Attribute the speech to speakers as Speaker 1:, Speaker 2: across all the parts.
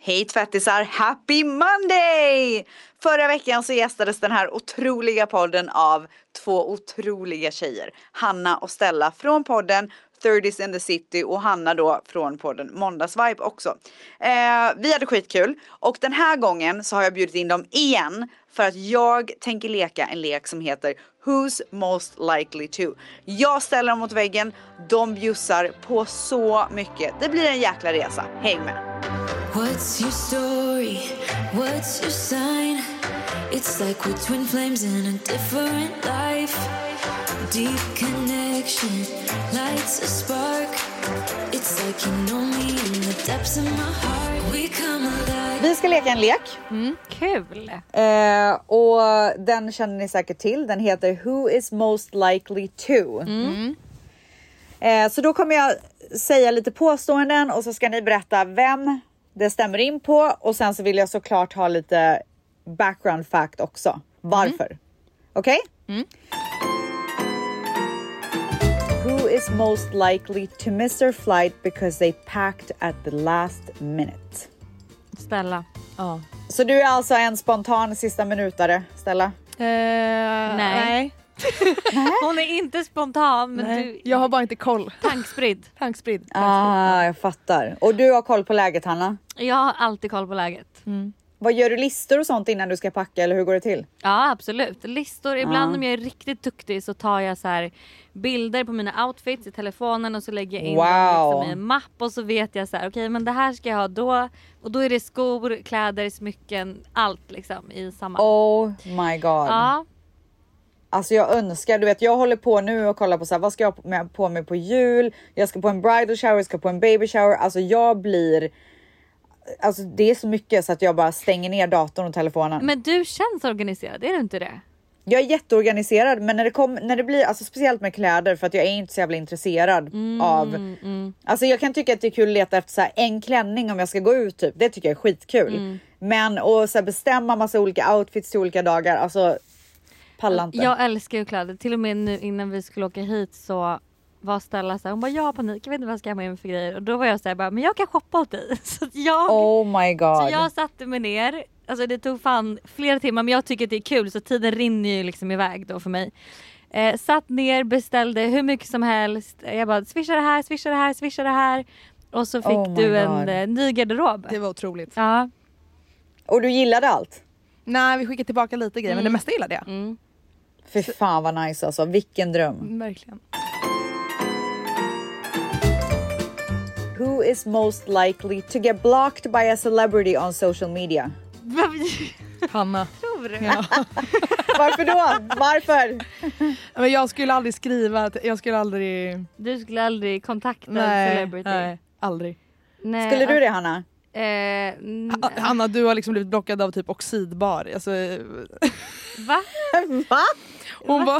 Speaker 1: Hej tvättisar! Happy Monday! Förra veckan så gästades den här otroliga podden av två otroliga tjejer. Hanna och Stella från podden 30s in the city och Hanna då från podden Måndagsvibe också. Eh, vi hade skitkul och den här gången så har jag bjudit in dem igen för att jag tänker leka en lek som heter Who's most likely to? Jag ställer dem mot väggen, de bjussar på så mycket. Det blir en jäkla resa. Häng med!
Speaker 2: What's your story? What's your sign? It's like we're twin flames in a different life. Deep connection lights a spark. It's like you know me in the depths of my heart. We come alive.
Speaker 1: Vi ska leka en lek
Speaker 3: Kul!
Speaker 1: eh, och den känner ni säkert till. Den heter Who is most likely to? Eh, så då kommer jag säga lite påståenden och så ska ni berätta vem det stämmer in på och sen så vill jag såklart ha lite background fact också. Varför? Okej? Who is most likely to miss their flight because they packed at the last minute?
Speaker 3: Stella. Ja.
Speaker 1: Så du är alltså en spontan sista minutare, Stella?
Speaker 4: Eh,
Speaker 3: Nej. Hon är inte spontan men
Speaker 4: Nej.
Speaker 3: du
Speaker 4: Jag har bara inte koll.
Speaker 3: tankspridd.
Speaker 4: Tankspridd.
Speaker 1: Ah, jag fattar. Och du har koll på läget, Hanna?
Speaker 3: Jag har alltid koll på läget.
Speaker 1: Vad gör du listor och sånt innan du ska packa eller hur går det till?
Speaker 3: Ja absolut. Listor, ibland
Speaker 1: Ja.
Speaker 3: om jag är riktigt duktig så tar jag så här bilder på mina outfits i telefonen och så lägger jag in
Speaker 1: Wow.
Speaker 3: dem liksom i en mapp och så vet jag så här okej men det här ska jag ha då och då är det skor, kläder, smycken, allt liksom i samma.
Speaker 1: Oh my god.
Speaker 3: Ja.
Speaker 1: Alltså jag önskar, du vet jag håller på nu och kollar på så här, vad ska jag ha på mig- på mig på jul? Jag ska på en bridal shower, jag ska på en baby shower. Alltså jag blir, alltså det är så mycket så att jag bara stänger ner datorn och telefonen.
Speaker 3: Men du känns organiserad, är du inte det?
Speaker 1: Jag är jätteorganiserad men när det, kom, när det blir, alltså speciellt med kläder för att jag är inte så jävla intresserad
Speaker 3: Mm,
Speaker 1: av... Alltså jag kan tycka att det är kul att leta efter så här en klänning om jag ska gå ut typ. Det tycker jag är skitkul.
Speaker 3: Mm.
Speaker 1: Men och så här bestämma massa olika outfits till olika dagar, alltså pallar inte.
Speaker 3: Jag älskar ju kläder. Till och med nu innan vi skulle åka hit så var Stella så här, hon bara jag har panik, jag vet inte vad jag ska ha med mig för grejer. Och då var jag så här, bara, men jag kan shoppa åt dig. Så att jag,
Speaker 1: oh my
Speaker 3: så
Speaker 1: god.
Speaker 3: Alltså, jag satte mig ner. Alltså det tog fan flera timmar men jag tycker att det är kul så tiden rinner ju liksom iväg då för mig. Eh, satt ner, beställde hur mycket som helst. Eh, Jag bara swisha det här, swisha det här, swisha det här. Och så fick
Speaker 1: Oh my
Speaker 3: du en
Speaker 1: God.
Speaker 3: eh, ny garderob.
Speaker 4: Det var otroligt.
Speaker 3: Ja.
Speaker 1: Och du gillade allt?
Speaker 4: Nej vi skickar tillbaka lite grejer
Speaker 3: Mm.
Speaker 4: men det mesta gillade jag.
Speaker 1: Fy fan vad nice alltså, vilken dröm.
Speaker 4: Mm, Verkligen.
Speaker 1: Who is most likely to get blocked by a celebrity on social media?
Speaker 3: Vad
Speaker 4: Hanna.
Speaker 3: tror du?
Speaker 4: Ja.
Speaker 1: Varför då? Varför?
Speaker 4: Men jag skulle aldrig skriva, att- jag skulle aldrig...
Speaker 3: Du skulle aldrig kontakta en
Speaker 4: Nej.
Speaker 3: celebrity.
Speaker 4: nej aldrig.
Speaker 3: Nej,
Speaker 1: Skulle du det Hanna?
Speaker 3: Eh, n-
Speaker 4: Ha- Hanna du har liksom blivit blockad av typ oxidbar. Alltså,
Speaker 3: va?
Speaker 1: Va?
Speaker 4: hon, var,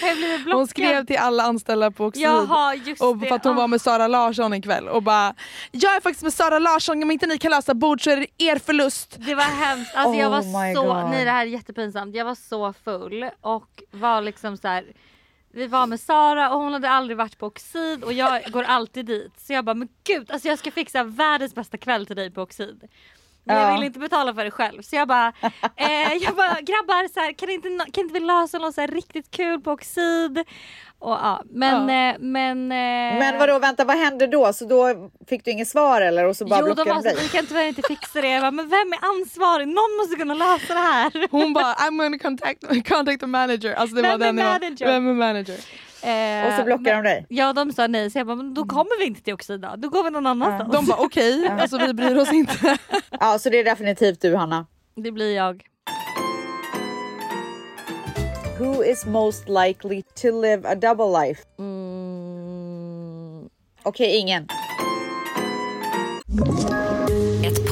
Speaker 3: Har jag blivit blockad?
Speaker 4: hon skrev till alla anställda på oxid.
Speaker 3: Jaha just
Speaker 4: Och
Speaker 3: det.
Speaker 4: för att hon
Speaker 3: Ah.
Speaker 4: var med Sara Larsson en kväll och bara Jag är faktiskt med Sara Larsson, om inte ni kan lösa bord så är det er förlust.
Speaker 3: Det var hemskt. Alltså jag
Speaker 1: Oh
Speaker 3: var
Speaker 1: my
Speaker 3: så,
Speaker 1: God.
Speaker 3: nej det här är jättepinsamt. Jag var så full och var liksom så här. Vi var med Sara och hon hade aldrig varit på Oxid och jag går alltid dit. Så jag bara men gud alltså jag ska fixa världens bästa kväll till dig på Oxid. Men
Speaker 1: Ja.
Speaker 3: jag vill inte betala för det själv så jag bara, eh, jag bara grabbar så här, kan, inte, nå- kan inte vi lösa något så här riktigt kul på Oxid? Och, ja, men, eh, men, eh,
Speaker 1: Men vadå, vänta, vad hände då? Så då fick du inget svar eller? Och så bara
Speaker 3: Jo de
Speaker 1: blockade de
Speaker 3: var så här, vi
Speaker 1: dig?
Speaker 3: kan tyvärr inte fixa det. Jag bara, men vem är ansvarig? Någon måste kunna lösa det här.
Speaker 4: Hon bara I'm gonna contact, contact the manager. Alltså det
Speaker 3: Vem
Speaker 4: var
Speaker 3: är
Speaker 4: den nivån.
Speaker 3: manager?
Speaker 4: Vem är manager?
Speaker 3: Eh,
Speaker 1: Och så blockade de dig? Mm.
Speaker 3: Ja de sa nej så jag bara, men då kommer vi inte till Oxida, då går vi någon annanstans.
Speaker 4: De bara okej, alltså vi bryr oss inte.
Speaker 1: Ja, så det är definitivt du Hanna.
Speaker 3: Det blir jag.
Speaker 1: Who is most likely to live a double life?
Speaker 3: Mm.
Speaker 1: Okej, ingen.
Speaker 5: Ett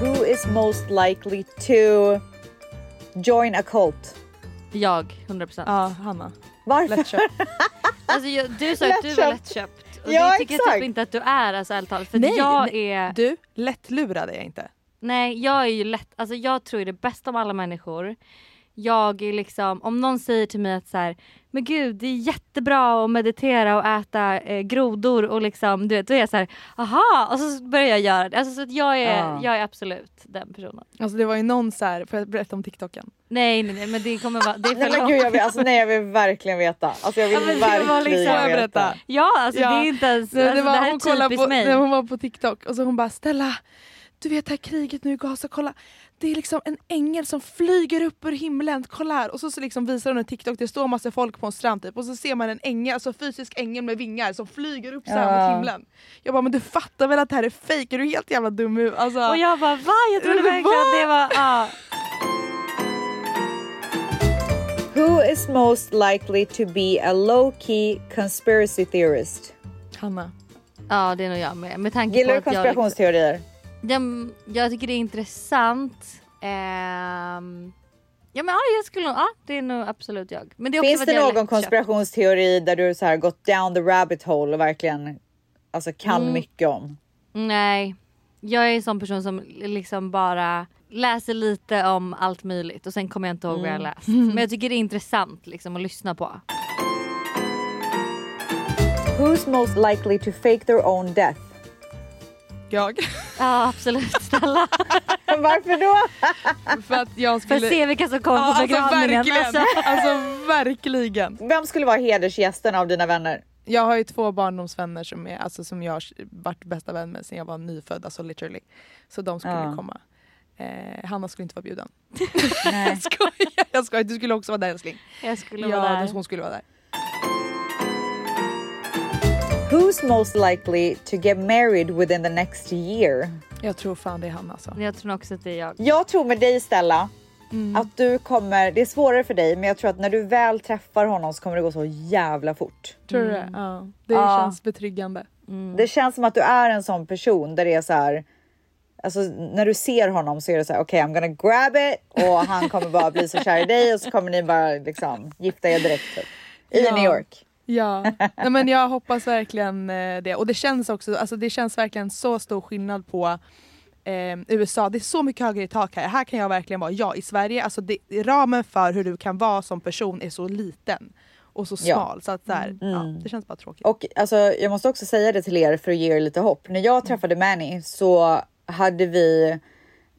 Speaker 1: Who is is most likely to join a cult?
Speaker 3: Jag, 100 procent.
Speaker 4: Ja, Hanna.
Speaker 1: Varför?
Speaker 4: Lätt köpt.
Speaker 3: Alltså, jag, du sa att du var lättköpt. Och
Speaker 1: Ja,
Speaker 3: det tycker jag
Speaker 1: exakt.
Speaker 3: typ inte att du är alltså ärligt talat. För
Speaker 4: Nej,
Speaker 3: jag
Speaker 4: nej.
Speaker 3: är...
Speaker 4: Du, lättlurad är jag inte.
Speaker 3: Nej, jag är ju lätt, alltså jag tror ju det bästa om alla människor. Jag är liksom, om någon säger till mig att så här, men gud det är jättebra att meditera och äta eh, grodor och liksom du vet, då är jag så här, aha! Och så börjar jag göra det. Alltså så att jag är,
Speaker 1: Ja.
Speaker 3: jag är absolut den personen.
Speaker 4: Alltså det var ju någon så här, får jag berätta om TikToken?
Speaker 3: Nej nej nej men det kommer vara, det är
Speaker 1: Nej,
Speaker 3: för
Speaker 1: men
Speaker 3: långt.
Speaker 1: gud, jag vill, alltså, nej, jag vill verkligen veta. Alltså, jag vill
Speaker 3: Ja, men det var
Speaker 1: verkligen
Speaker 3: liksom-
Speaker 4: Får jag
Speaker 1: veta.
Speaker 4: berätta?
Speaker 3: Ja alltså
Speaker 4: Ja.
Speaker 3: det är inte ens,
Speaker 4: Nej,
Speaker 3: alltså, det,
Speaker 4: det var,
Speaker 3: här
Speaker 4: hon
Speaker 3: är
Speaker 4: kollade
Speaker 3: typiskt
Speaker 4: på,
Speaker 3: mig.
Speaker 4: när hon var på TikTok och så hon bara “Stella, du vet det här kriget nu i Gaza, kolla. Det är liksom en ängel som flyger upp ur himlen, kolla här!” Och så, så liksom visar hon en TikTok, det står massa folk på en strand typ och så ser man en ängel, alltså fysisk ängel med vingar som flyger upp så här
Speaker 1: Ja.
Speaker 4: mot himlen. Jag bara “men du fattar väl att det här är fejk? Är du helt jävla dum i huvudet?" alltså,
Speaker 3: Och jag bara va? Jag trodde
Speaker 4: Va?
Speaker 3: verkligen att det var, ja.
Speaker 1: Who is most likely to be a low-key conspiracy theorist?
Speaker 4: Hanna.
Speaker 3: Ja det är nog jag med. med tanke
Speaker 1: Gillar
Speaker 3: på
Speaker 1: du
Speaker 3: att jag liksom-
Speaker 1: konspirationsteorier?
Speaker 3: Den, jag tycker det är intressant. Ehm, ja men ja, jag skulle nog, ja det är nog absolut jag. Men det är också
Speaker 1: Finns
Speaker 3: för att
Speaker 1: det
Speaker 3: jag är
Speaker 1: någon
Speaker 3: lättköpt.
Speaker 1: konspirationsteori där du så här gått down the rabbit hole och verkligen alltså, kan
Speaker 3: Mm.
Speaker 1: mycket om?
Speaker 3: Nej. Jag är en sån person som liksom bara läser lite om allt möjligt och sen kommer jag inte ihåg vad jag läst. Men jag tycker det är intressant liksom att lyssna på.
Speaker 1: Who's most likely to fake their own death?
Speaker 4: Jag.
Speaker 3: Ja absolut snälla.
Speaker 1: Varför då?
Speaker 4: För att jag
Speaker 3: För att
Speaker 4: skulle...
Speaker 3: se vilka som kommer
Speaker 4: Ja,
Speaker 3: på
Speaker 4: alltså
Speaker 3: begravningen.
Speaker 4: verkligen.
Speaker 3: Alltså.
Speaker 4: Alltså verkligen.
Speaker 1: Vem skulle vara hedersgästen av dina vänner?
Speaker 4: Jag har ju två barndomsvänner som, är, alltså, som jag har varit bästa vän med sen jag var nyfödd, alltså literally. Så de skulle
Speaker 1: Ja.
Speaker 4: komma. Eh, Hanna skulle inte vara bjuden.
Speaker 1: Nej.
Speaker 4: Skojar, jag skojar. Du skulle också vara där älskling.
Speaker 3: Jag skulle vara
Speaker 4: Ja,
Speaker 3: där.
Speaker 4: hon skulle vara där.
Speaker 1: Who's most likely to get married within the next year?
Speaker 4: Jag tror fan det är Hanna alltså.
Speaker 3: Jag tror nog också att det är jag.
Speaker 1: Jag tror med dig Stella
Speaker 3: Mm.
Speaker 1: att du kommer, det är svårare för dig men jag tror att när du väl träffar honom så kommer det gå så jävla fort.
Speaker 4: Tror du det? Ja. Det
Speaker 1: Ja.
Speaker 4: känns betryggande.
Speaker 1: Det känns som att du är en sån person där det är så här. Alltså när du ser honom så är det så här okej I'm gonna grab it och han kommer bara bli så kär i dig och så kommer ni bara liksom gifta er direkt typ. I
Speaker 4: Ja.
Speaker 1: New York.
Speaker 4: Ja, Nej, men jag hoppas verkligen eh, det. Och det känns också, alltså det känns verkligen så stor skillnad på eh, USA. Det är så mycket högre i tak här. Här kan jag verkligen vara jag. I Sverige, alltså det, ramen för hur du kan vara som person är så liten och så
Speaker 1: Ja. Mm.
Speaker 4: smal. Så att så här, ja, det känns bara tråkigt.
Speaker 1: Och alltså, jag måste också säga det till er för att ge er lite hopp. När jag träffade Manny så hade vi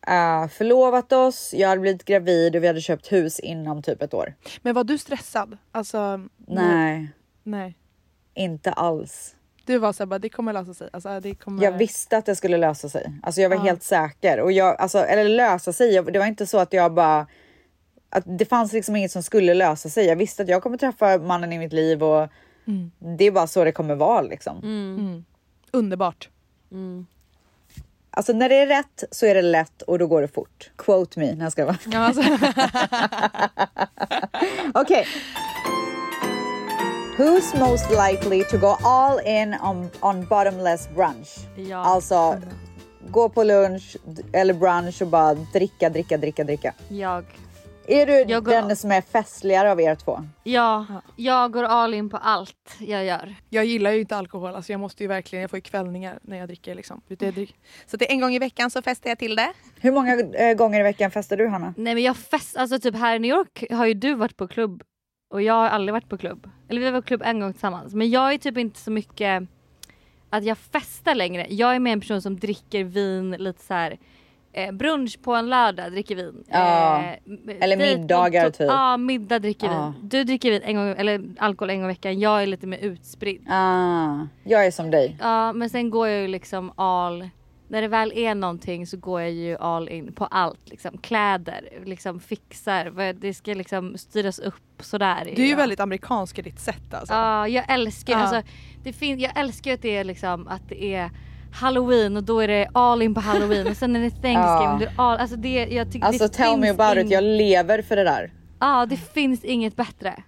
Speaker 1: eh, förlovat oss, jag hade blivit gravid och vi hade köpt hus inom typ ett år.
Speaker 4: Men var du stressad? Alltså,
Speaker 1: Nej,
Speaker 4: nej.
Speaker 1: inte alls.
Speaker 4: Du var såhär bara, det kommer lösa sig. Alltså, det kommer...
Speaker 1: Jag visste att det skulle lösa sig. Alltså jag var helt säker. Och jag, alltså, eller lösa sig, jag, det var inte så att jag bara... Att det fanns liksom inget som skulle lösa sig. Jag visste att jag kommer träffa mannen i mitt liv och
Speaker 4: Mm.
Speaker 1: det är bara så det kommer vara liksom.
Speaker 4: Underbart.
Speaker 1: Alltså när det är rätt så är det lätt och då går det fort. Quote me. När jag ska vara.
Speaker 4: Ja, alltså,
Speaker 1: Okej. Who's most likely to go all in on, on bottomless brunch?
Speaker 3: Ja.
Speaker 1: Alltså, gå på lunch d- eller brunch och bara dricka, dricka, dricka, dricka.
Speaker 3: Jag.
Speaker 1: Är du
Speaker 3: Jag går-
Speaker 1: den som är festligare av er två?
Speaker 3: Ja, jag går all in på allt jag gör.
Speaker 4: jag gillar ju inte alkohol, alltså, jag måste ju verkligen, jag får ju kvällningar när jag dricker. Liksom. Det är dryck- Så att det är en gång i veckan så festar jag till det.
Speaker 1: Hur många eh, gånger i veckan festar du Hanna?
Speaker 3: Nej men jag fest, alltså typ här i New York har ju du varit på klubb och jag har aldrig varit på klubb. Eller vi var på klubb en gång tillsammans men jag är typ inte så mycket att jag festar längre. Jag är mer en person som dricker vin lite så här eh, brunch på en lördag dricker vin.
Speaker 1: Ja.
Speaker 3: m-
Speaker 1: Eller
Speaker 3: dejt-
Speaker 1: middagar, typ.
Speaker 3: Ja middag dricker
Speaker 1: Ja.
Speaker 3: vin. Du dricker vin en gång, eller alkohol en gång i veckan. Jag är lite mer utspridd.
Speaker 1: Ah, jag är som dig.
Speaker 3: Ja men sen går jag ju liksom all när det väl är någonting så går jag ju all in på allt. Liksom. Kläder, liksom fixar, vad- det ska liksom styras upp sådär.
Speaker 4: Du är ju
Speaker 3: jag.
Speaker 4: väldigt amerikansk i ditt sätt alltså.
Speaker 3: Ja jag älskar
Speaker 4: Ja.
Speaker 3: alltså, det fin- jag älskar att det är liksom att det är halloween och då är det all in på halloween och sen är det
Speaker 1: Ja.
Speaker 3: Thanksgiving. du All, alltså det, jag tycker
Speaker 1: Alltså
Speaker 3: det
Speaker 1: tell me
Speaker 3: finns
Speaker 1: about it,
Speaker 3: ing-
Speaker 1: jag lever för det där.
Speaker 3: Ja det finns inget bättre.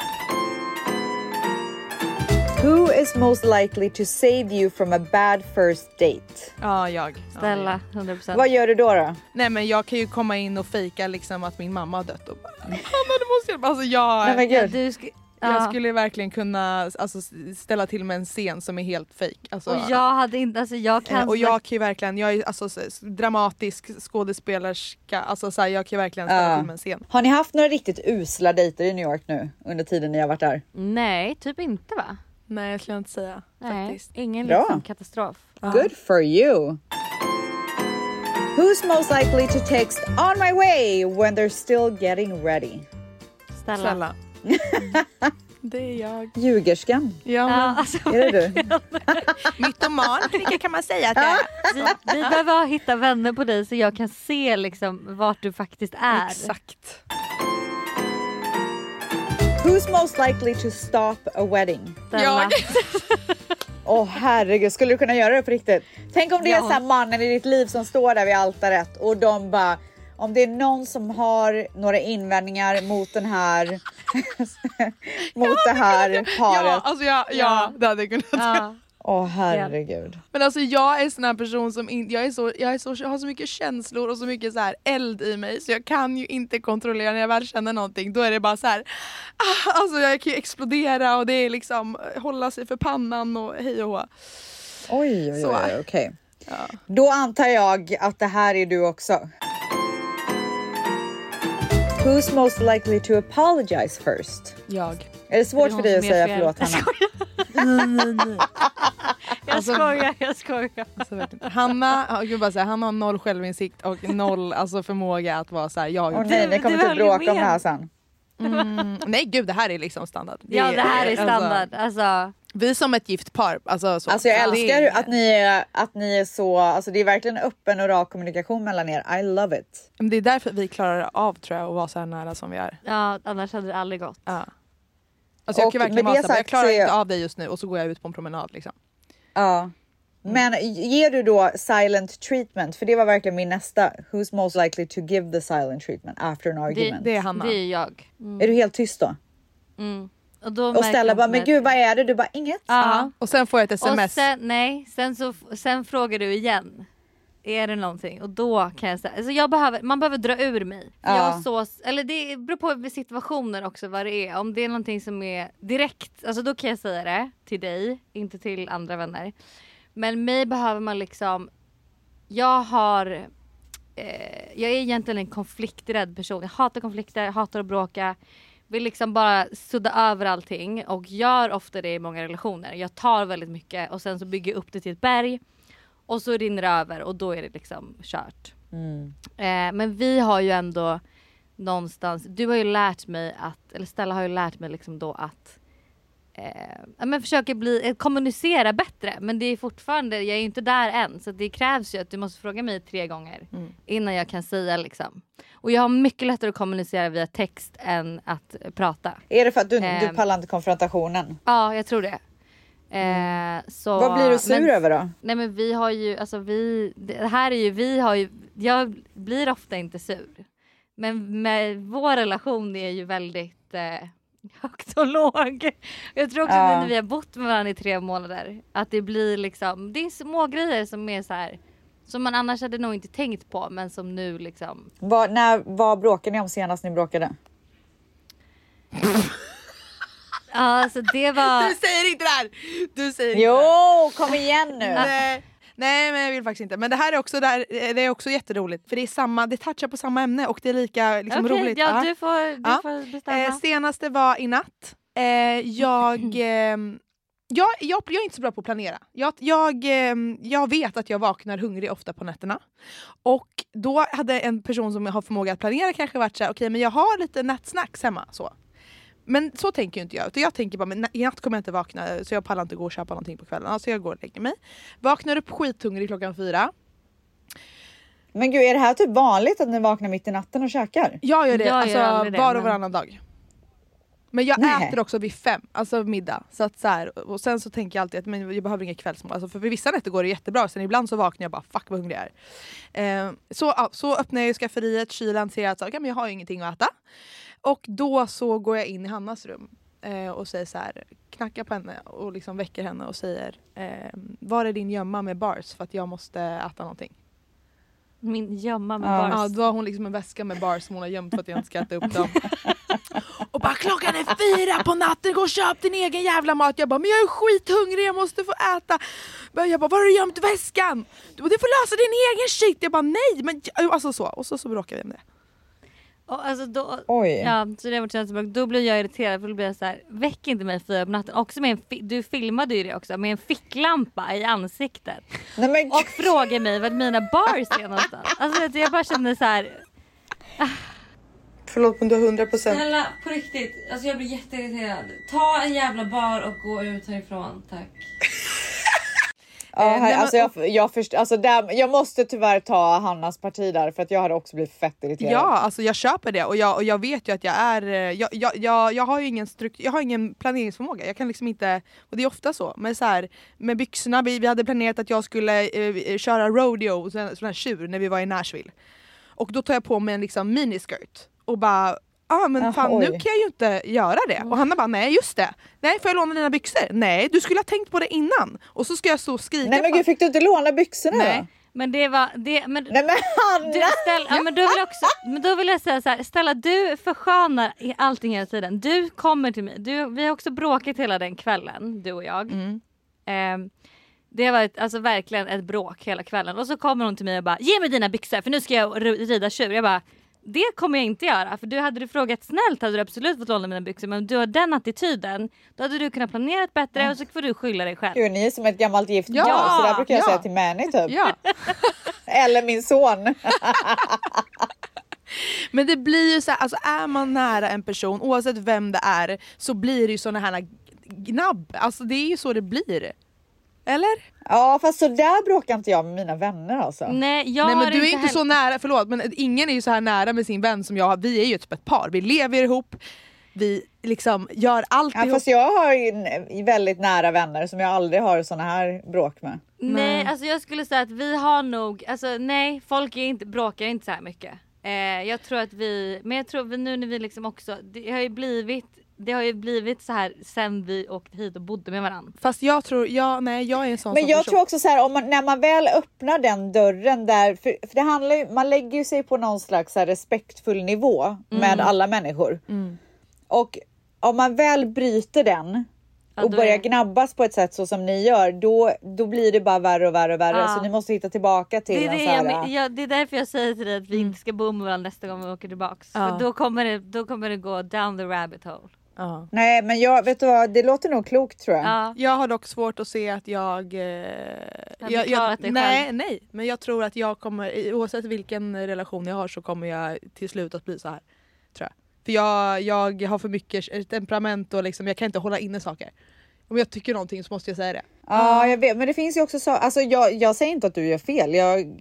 Speaker 1: Who is most likely to save you from a bad first date?
Speaker 4: Ja, jag. Ja,
Speaker 3: Stella, 100%.
Speaker 1: Vad gör du då? då?
Speaker 4: Nej men jag kan ju komma in och fejka liksom att min mamma har dött och bara mamma du måste hjälpa. Alltså jag,
Speaker 1: Nej, men gud.
Speaker 3: Du sk-
Speaker 4: jag
Speaker 3: ja.
Speaker 4: skulle verkligen kunna alltså, ställa till med en scen som är helt fejk. Alltså,
Speaker 3: Och jag hade inte, alltså jag
Speaker 4: eh,
Speaker 3: kan
Speaker 4: och jag kan ju verkligen, jag är alltså, s- s- dramatisk skådespelerska, alltså, så här, jag kan ju verkligen ställa
Speaker 1: Ja.
Speaker 4: till med en scen.
Speaker 1: Har ni haft några riktigt usla dejter i New York nu under tiden ni har varit där?
Speaker 3: Nej, typ inte va?
Speaker 4: Nej jag skulle inte säga
Speaker 3: Nej,
Speaker 4: faktiskt.
Speaker 3: ingen
Speaker 1: Bra.
Speaker 3: liksom katastrof.
Speaker 1: Uh-huh. Good for you! Who's most likely to text on my way when they're still getting ready?
Speaker 3: Stella.
Speaker 4: Snälla. Mm. det är jag.
Speaker 1: Ljugerskan,
Speaker 4: Ja,
Speaker 3: Ja,
Speaker 4: men,
Speaker 3: alltså,
Speaker 1: är det du?
Speaker 4: mytoman vilka kan man säga att jag är?
Speaker 3: vi, vi behöver hitta vänner på dig så jag kan se liksom vart du faktiskt är.
Speaker 4: Exakt.
Speaker 1: Who's most likely to stop a wedding?
Speaker 3: Stella.
Speaker 4: Jag.
Speaker 1: Åh herregud, skulle du kunna göra det på riktigt? Tänk om det är
Speaker 3: Ja.
Speaker 1: så här mannen i ditt liv som står där vid altaret och de bara om det är någon som har några invändningar mot den här mot det här
Speaker 4: Ja,
Speaker 1: paret.
Speaker 4: alltså jag, ja,
Speaker 3: Ja.
Speaker 4: det hade jag kunnat.
Speaker 3: Ja.
Speaker 1: Åh herregud.
Speaker 4: Men alltså jag är en sån här person som in, jag, är så, jag, är så, jag har så mycket känslor och så mycket så här eld i mig så jag kan ju inte kontrollera när jag väl känner någonting. Då är det bara så här, ah, alltså jag kan ju explodera och det är liksom eh, hålla sig för pannan och hej och hå.
Speaker 1: Oj, oj, oj,
Speaker 4: Så.
Speaker 1: oj okej. Då antar jag att det här är du också. Who's most likely to apologize first?
Speaker 4: Jag.
Speaker 1: Är det svårt
Speaker 3: Det
Speaker 1: för dig
Speaker 3: är hon
Speaker 1: att
Speaker 3: som gör
Speaker 1: säga
Speaker 3: fel.
Speaker 1: förlåt Hanna?
Speaker 3: Jag skojar, jag skojar.
Speaker 4: Alltså, verkligen. Hanna, ja, gud, bara så här, Hanna har noll självinsikt och noll alltså, förmåga att vara så här, jag.
Speaker 1: Åh nej,
Speaker 3: Du-
Speaker 1: ni kommer
Speaker 3: du
Speaker 1: typ
Speaker 3: höll ju
Speaker 1: bråka om det
Speaker 3: med.
Speaker 1: här sen.
Speaker 4: Mm, nej gud det här är liksom standard.
Speaker 3: Ja det här är
Speaker 4: alltså,
Speaker 3: standard. Alltså,
Speaker 4: vi som ett gift par. Alltså, så.
Speaker 1: Alltså jag
Speaker 4: Ja.
Speaker 1: älskar ju att ni är, att ni är så, alltså det är verkligen öppen och rak kommunikation mellan er. I love it.
Speaker 4: Det är därför vi klarar av tror jag att vara så här nära som vi är.
Speaker 3: ja, annars hade det aldrig gått.
Speaker 4: Ja. Alltså jag
Speaker 1: Och
Speaker 4: kan
Speaker 1: med
Speaker 4: verkligen
Speaker 1: det
Speaker 4: vara såhär, jag
Speaker 1: sagt
Speaker 4: klarar
Speaker 1: så är-
Speaker 4: inte av dig just nu och så går jag ut på en promenad liksom.
Speaker 1: Ja. Men ger du då silent treatment? För det var verkligen min nästa. Who's most likely to give the silent treatment after an argument?
Speaker 4: Det är Hanna.
Speaker 3: Det är jag. Mm.
Speaker 1: Är du helt tyst då?
Speaker 3: Och, då
Speaker 1: Och
Speaker 3: märker
Speaker 1: Stella
Speaker 3: jag
Speaker 1: bara,
Speaker 3: inte
Speaker 1: men
Speaker 3: mer.
Speaker 1: gud vad är det? Du bara, inget.
Speaker 3: Ja.
Speaker 4: Och sen får jag ett
Speaker 3: Och
Speaker 4: sms.
Speaker 3: sen, nej, sen, så, f- sen frågar du igen. Är det någonting? Och då kan jag säga, alltså jag behöver, man behöver dra ur mig. För
Speaker 1: Ja.
Speaker 3: Jag har så, eller det beror på situationen också vad det är. Om det är någonting som är direkt, alltså då kan jag säga det till dig, inte till andra vänner. Men mig behöver man liksom, jag har eh, jag är egentligen en konflikträdd person. Jag hatar konflikter, hatar att bråka. Vill liksom bara sudda över allting och gör ofta det i många relationer. Jag tar väldigt mycket och sen så bygger jag upp det till ett berg och så rinner det över och då är det liksom kört.
Speaker 1: Mm.
Speaker 3: Eh, men vi har ju ändå någonstans, du har ju lärt mig att, eller Stella har ju lärt mig liksom då att eh, ja, men försöka bli, eh, kommunicera bättre men det är fortfarande, jag är ju inte där än så det krävs ju att du måste fråga mig tre gånger
Speaker 1: Mm.
Speaker 3: innan jag kan säga liksom. Och jag har mycket lättare att kommunicera via text än att eh, prata.
Speaker 1: Är det för att du, du
Speaker 3: Ehm.
Speaker 1: pallar inte konfrontationen?
Speaker 3: Ja, jag tror det. Eh, så,
Speaker 1: Mm. Vad blir du sur
Speaker 3: men-
Speaker 1: över då?
Speaker 3: Nej men vi har ju, alltså vi, det här är ju, vi har ju, jag blir ofta inte sur. Men med vår relation är ju väldigt eh, högt och låg. Jag tror också
Speaker 1: Ja.
Speaker 3: nu när vi har bott med varandra i tre månader att det blir liksom, det är små grejer som är så här som man annars hade nog inte tänkt på men som nu liksom.
Speaker 1: Vad, när, vad bråkade ni om senast ni bråkade?
Speaker 3: Ja alltså det var,
Speaker 4: Du säger inte det här! Du säger inte
Speaker 1: Jo,
Speaker 4: det här.
Speaker 1: kom igen nu!
Speaker 4: Nej. Nej men jag vill faktiskt inte. Men det här är också, där, det är också jätteroligt för det är samma, det touchar på samma ämne och det är lika liksom,
Speaker 3: Okej,
Speaker 4: roligt.
Speaker 3: ja
Speaker 4: Ja.
Speaker 3: du får, du
Speaker 4: Ja.
Speaker 3: får bestämma.
Speaker 4: Eh, senaste var i natt. Eh, jag, ehm, jag, jag, jag är inte så bra på att planera. Jag, jag, ehm, jag vet att jag vaknar hungrig ofta på nätterna. Och då hade en person som har förmåga att planera kanske varit så här, okej men jag har lite nattsnacks hemma. Så. Men så tänker ju inte jag. Utan jag tänker bara, men na- i natt kommer jag inte vakna så jag pallar inte gå och köpa någonting på kvällen. Så jag går och lägger mig. Vaknar upp skithungrig klockan fyra.
Speaker 1: Men gud, är det här typ vanligt att ni vaknar mitt i natten och käkar?
Speaker 4: Jag gör det,
Speaker 3: Jag gör
Speaker 4: alltså,
Speaker 3: aldrig det,
Speaker 4: var och
Speaker 3: men-
Speaker 4: varannan dag. Men jag
Speaker 1: Nej.
Speaker 4: äter också vid fem, alltså middag. Så att så här, och sen så tänker jag alltid att men jag behöver inga kvällsmål. Alltså för, för vissa nätter går det jättebra, sen ibland så vaknar jag bara fuck vad hungrig jag är. Eh, så, ja, så öppnar jag ju skafferiet, kylen, ser att så, här, okej, men jag har ju ingenting att äta. Och då så går jag in i Hannas rum eh, och säger så här, knackar på henne och liksom väcker henne och säger eh, var är din gömma med bars för att jag måste äta någonting.
Speaker 3: Min gömma med
Speaker 6: Ja.
Speaker 3: bars.
Speaker 4: Ja, då har hon liksom en väska med bars som hon har gömt för att jag inte ska äta upp dem. Och bara klockan är fyra på natten, gå och köp din egen jävla mat. Jag bara men jag är skithungrig, jag måste få äta. Men Jag bara var har du gömt väskan? Du bara, du får lösa din egen shit. Jag bara nej men jag-" alltså så. Och så, så bråkar vi om det.
Speaker 3: Och alltså då,
Speaker 6: Oj.
Speaker 3: Ja, så det var känselsbråck. Då blir jag irriterad för då blir jag så här, väck inte mig fyra på natten. Också med en, fi- du filmade ju det också med en ficklampa i ansiktet.
Speaker 6: Nej, men
Speaker 3: Och eh, frågar mig vart mina bars är någonstans. Alltså vet du, jag bara känner så här.
Speaker 4: Förlåt men du har 100 procent.
Speaker 7: Snälla, på riktigt. Alltså jag blir jätteirriterad. Ta en jävla bar och gå ut härifrån, tack.
Speaker 1: Ja,
Speaker 4: Eh, nej,
Speaker 1: här,
Speaker 4: men-
Speaker 1: alltså jag, jag, först, alltså där, jag måste tyvärr ta Hannas parti där för att jag hade också blivit fett irriterad.
Speaker 4: Ja, alltså jag köper det och jag, och jag vet ju att jag är... eh, Jag, jag, jag, jag har ju ingen, struktur, jag har ingen planeringsförmåga. Jag kan liksom inte... Och det är ofta så. Men så här, med byxorna, vi, vi hade planerat att jag skulle eh, köra rodeo, sån sån här tjur, när vi var i Nashville. Och då tar jag på mig en liksom miniskirt och bara ah, men
Speaker 1: Jaha,
Speaker 4: fan nu
Speaker 1: oj.
Speaker 4: kan jag ju inte göra det. Och Hanna bara nej just det, nej får jag låna dina byxor? Nej du skulle ha tänkt på det innan. Och så ska jag stå och skrika.
Speaker 1: Nej men
Speaker 4: på-
Speaker 1: gud, fick du inte låna byxorna
Speaker 4: Nej.
Speaker 1: då?
Speaker 3: Men det var, det, men
Speaker 1: Nej men
Speaker 3: Du,
Speaker 1: Hanna!
Speaker 3: ställ, ja, men, då vill jag också, men då vill jag säga så här, Stella du förskönar i allting hela tiden. Du kommer till mig, du, vi har också bråkat hela den kvällen du och jag.
Speaker 4: Mm.
Speaker 3: Ehm, det har varit alltså, verkligen ett bråk hela kvällen och så kommer hon till mig och bara ge mig dina byxor för nu ska jag ro- rida tjur. Jag bara det kommer jag inte göra för du hade du frågat snällt hade du absolut fått låna mina byxor men om du har den attityden då hade du kunnat planera bättre och så får du skylla dig själv.
Speaker 1: Gud, ni är som ett gammalt gift
Speaker 4: Ja,
Speaker 1: par, så där brukar jag
Speaker 4: ja.
Speaker 1: säga till Mani typ.
Speaker 4: Ja.
Speaker 1: Eller min son.
Speaker 4: Men det blir ju så här, alltså är man nära en person oavsett vem det är så blir det ju såna här gnabb. Alltså det är ju så det blir. Eller?
Speaker 1: Ja fast så där bråkar inte jag med mina vänner alltså.
Speaker 3: Nej jag
Speaker 4: Nej
Speaker 3: har
Speaker 4: men du är inte
Speaker 3: heller-
Speaker 4: så nära, förlåt men ingen är ju så här nära med sin vän som jag. Vi är ju typ ett par, vi lever ihop, vi liksom gör allt
Speaker 1: Ja,
Speaker 4: ihop.
Speaker 1: fast jag har ju n- väldigt nära vänner som jag aldrig har såna här bråk med.
Speaker 3: Nej, alltså jag skulle säga att vi har nog, alltså nej, folk är inte, bråkar inte så här mycket. Eh, jag tror att vi, men jag tror vi, nu när vi liksom också, det har ju blivit, det har ju blivit så här sen vi åkte hit och bodde med varandra.
Speaker 4: Fast jag tror, ja, nej jag är en sån
Speaker 1: Men
Speaker 4: som
Speaker 1: jag
Speaker 4: person.
Speaker 1: tror också så här, om man, när man väl öppnar den dörren där, för, för det handlar ju, man lägger ju sig på någon slags så här respektfull nivå
Speaker 3: Mm.
Speaker 1: med alla människor. Och om man väl bryter den
Speaker 3: Ja,
Speaker 1: och
Speaker 3: då
Speaker 1: börjar
Speaker 3: är-
Speaker 1: gnabbas på ett sätt så som ni gör, då, då blir det bara värre och värre och värre.
Speaker 3: Ja.
Speaker 1: Så ni måste hitta tillbaka till
Speaker 3: Det
Speaker 1: en
Speaker 3: är, det,
Speaker 1: så här, äh.
Speaker 3: jag, men- jag, det är därför jag säger till dig att vi inte ska bo med varandra nästa gång vi åker tillbaks.
Speaker 4: Ja.
Speaker 3: För då kommer, det, då kommer det gå down the rabbit hole.
Speaker 4: Ja.
Speaker 1: Nej, men jag vet du vad, det låter nog klokt tror jag.
Speaker 3: Ja.
Speaker 4: Jag har dock svårt att se att jag... Eh, jag,
Speaker 3: klarat dig
Speaker 4: nej,
Speaker 3: själv.
Speaker 4: nej. Men jag tror att jag kommer, i- oavsett vilken relation jag har så kommer jag till slut att bli så här. Tror jag. För jag, jag har för mycket eh, temperament och liksom, jag kan inte hålla inne saker. Om jag tycker någonting så måste jag säga det.
Speaker 1: Ja, jag vet. Men det finns ju också så. Alltså, jag, jag säger inte att du gör fel. Jag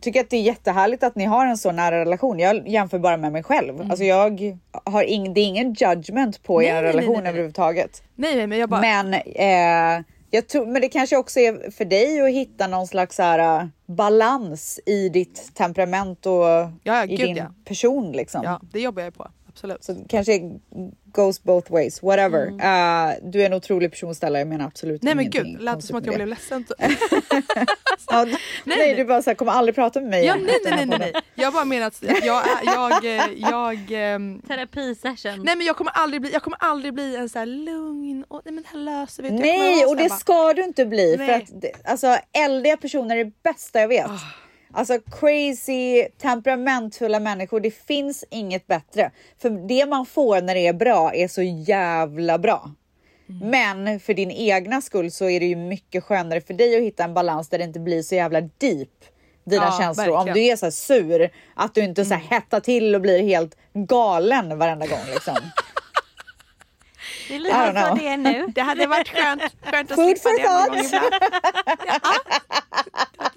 Speaker 1: tycker att det är jättehärligt att ni har en så nära relation. Jag jämför bara med mig själv. Alltså, jag har ing, det är ingen judgment på
Speaker 4: Mm. Nej,
Speaker 1: er
Speaker 4: nej, nej,
Speaker 1: relation
Speaker 4: nej, nej.
Speaker 1: överhuvudtaget.
Speaker 4: Nej, nej men jag bara...
Speaker 1: Men, eh, jag tror, men det kanske också är för dig att hitta någon slags så här, eh, balans i ditt temperament och
Speaker 4: ja,
Speaker 1: i
Speaker 4: gud,
Speaker 1: din
Speaker 4: ja.
Speaker 1: person. Liksom.
Speaker 4: ja, det jobbar jag på. Absolut.
Speaker 1: Så det kanske goes both ways, whatever. Eh, du är en otrolig person Stella, jag menar absolut
Speaker 4: Mm. Nej men
Speaker 1: ingenting
Speaker 4: gud, lät det
Speaker 1: konstigt
Speaker 4: som att
Speaker 1: med
Speaker 4: jag
Speaker 1: det.
Speaker 4: blev ledsen?
Speaker 1: Ja, nej, nej, du bara så här, kommer aldrig prata med mig
Speaker 4: Ja,
Speaker 1: igen
Speaker 4: nej,
Speaker 1: efter
Speaker 4: nej, nej,
Speaker 1: den här
Speaker 4: nej,
Speaker 1: podden.
Speaker 4: nej. Jag bara menar att jag, är- jag, eh, jag ehm,
Speaker 1: Mm.
Speaker 3: Terapisession.
Speaker 4: Nej men jag kommer aldrig bli, jag kommer aldrig bli en så här lugn och nej men det här löser vi. Jag kommer
Speaker 1: Nej,
Speaker 4: vara
Speaker 1: och
Speaker 4: så här
Speaker 1: det
Speaker 4: bara,
Speaker 1: ska du inte bli. För
Speaker 4: Nej. Ah.
Speaker 1: att, det- alltså, eldiga personer är det bästa jag vet. Alltså crazy, temperamentfulla människor. Det finns inget bättre. För det man får när det är bra är så jävla bra.
Speaker 4: Mm.
Speaker 1: Men för din egna skull så är det ju mycket skönare för dig att hitta en balans där det inte blir så jävla deep dina
Speaker 4: Ja,
Speaker 1: känslor. Om
Speaker 4: verkligen. Mm.
Speaker 1: du är så här sur, att du inte så här hettar till och blir helt galen varenda gång. Liksom.
Speaker 3: det är
Speaker 1: I don't
Speaker 3: lite så
Speaker 1: know.
Speaker 3: det är nu.
Speaker 4: Det hade varit skönt, skönt att
Speaker 1: Food for
Speaker 4: slippa det någon
Speaker 1: thought.
Speaker 4: gång ibland. Ja, ett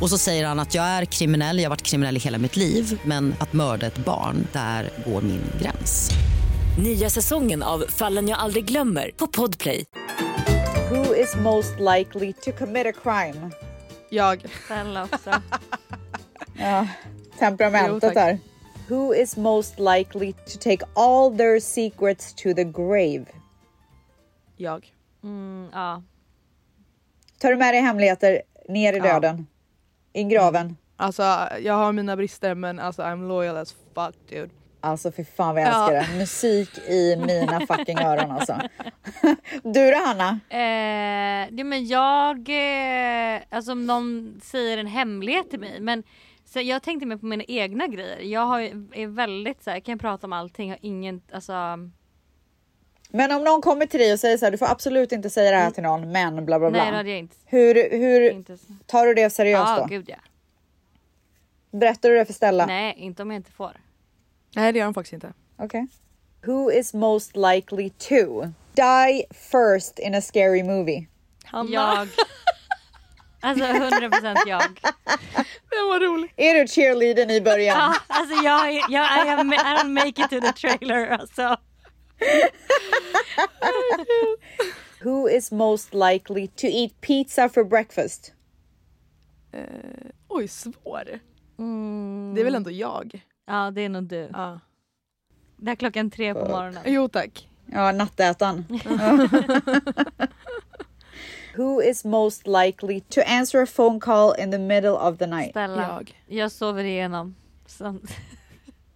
Speaker 8: Och så säger han att jag är kriminell, jag har varit kriminell i hela mitt liv men att mörda ett barn, där går min gräns.
Speaker 9: Nya säsongen av Fallen jag aldrig glömmer på Podplay.
Speaker 1: Who is most likely to commit a crime?
Speaker 4: Jag.
Speaker 3: Snälla också.
Speaker 1: Ja,
Speaker 4: Jo,
Speaker 1: temperamentet
Speaker 4: tack.
Speaker 1: där. Who is most likely to take all their secrets to the grave?
Speaker 4: Jag.
Speaker 3: Mm, ja.
Speaker 1: Tar du med dig hemligheter ner i döden? I graven?
Speaker 4: Alltså jag har mina brister men alltså I'm loyal as fuck dude.
Speaker 1: Alltså för fan vad jag älskar
Speaker 4: Ja.
Speaker 1: det. Musik i mina fucking öron alltså. Du då Hanna?
Speaker 3: Eh, ja, men jag, eh, alltså om någon säger en hemlighet till mig. Men så jag tänkte mer på mina egna grejer. Jag har, ju- är väldigt så här, kan prata om allting. Har ingen, alltså,
Speaker 1: Men om någon kommer till dig och säger så här, du får absolut inte säga det här till någon, men bla bla bla.
Speaker 3: nej då hade jag inte.
Speaker 1: Hur, hur
Speaker 3: inte så-
Speaker 1: tar du det seriöst
Speaker 3: Ja,
Speaker 1: då?
Speaker 3: gud ja.
Speaker 1: Berättar du det för Stella?
Speaker 3: Nej, inte om jag inte får.
Speaker 4: Nej det gör de faktiskt inte.
Speaker 1: Okej. Who is most likely to die first in a scary movie?
Speaker 4: Hanna.
Speaker 3: Jag. Alltså 100% jag.
Speaker 4: Den var rolig.
Speaker 1: Är du cheerleadern i början?
Speaker 3: Ja, alltså jag, är- jag I, am, I don't make it to the trailer alltså.
Speaker 1: Who is most likely to eat pizza for breakfast?
Speaker 4: Oj svår. Det är väl ändå jag?
Speaker 3: Ja det är nog du.
Speaker 4: Ja.
Speaker 3: Det är klockan tre på morgonen.
Speaker 4: Jo tack.
Speaker 1: Ja, nattätan. Who is most likely to answer a phone call in the middle of the night?
Speaker 3: Stella.
Speaker 4: Jag.
Speaker 3: Jag sover igenom. Så.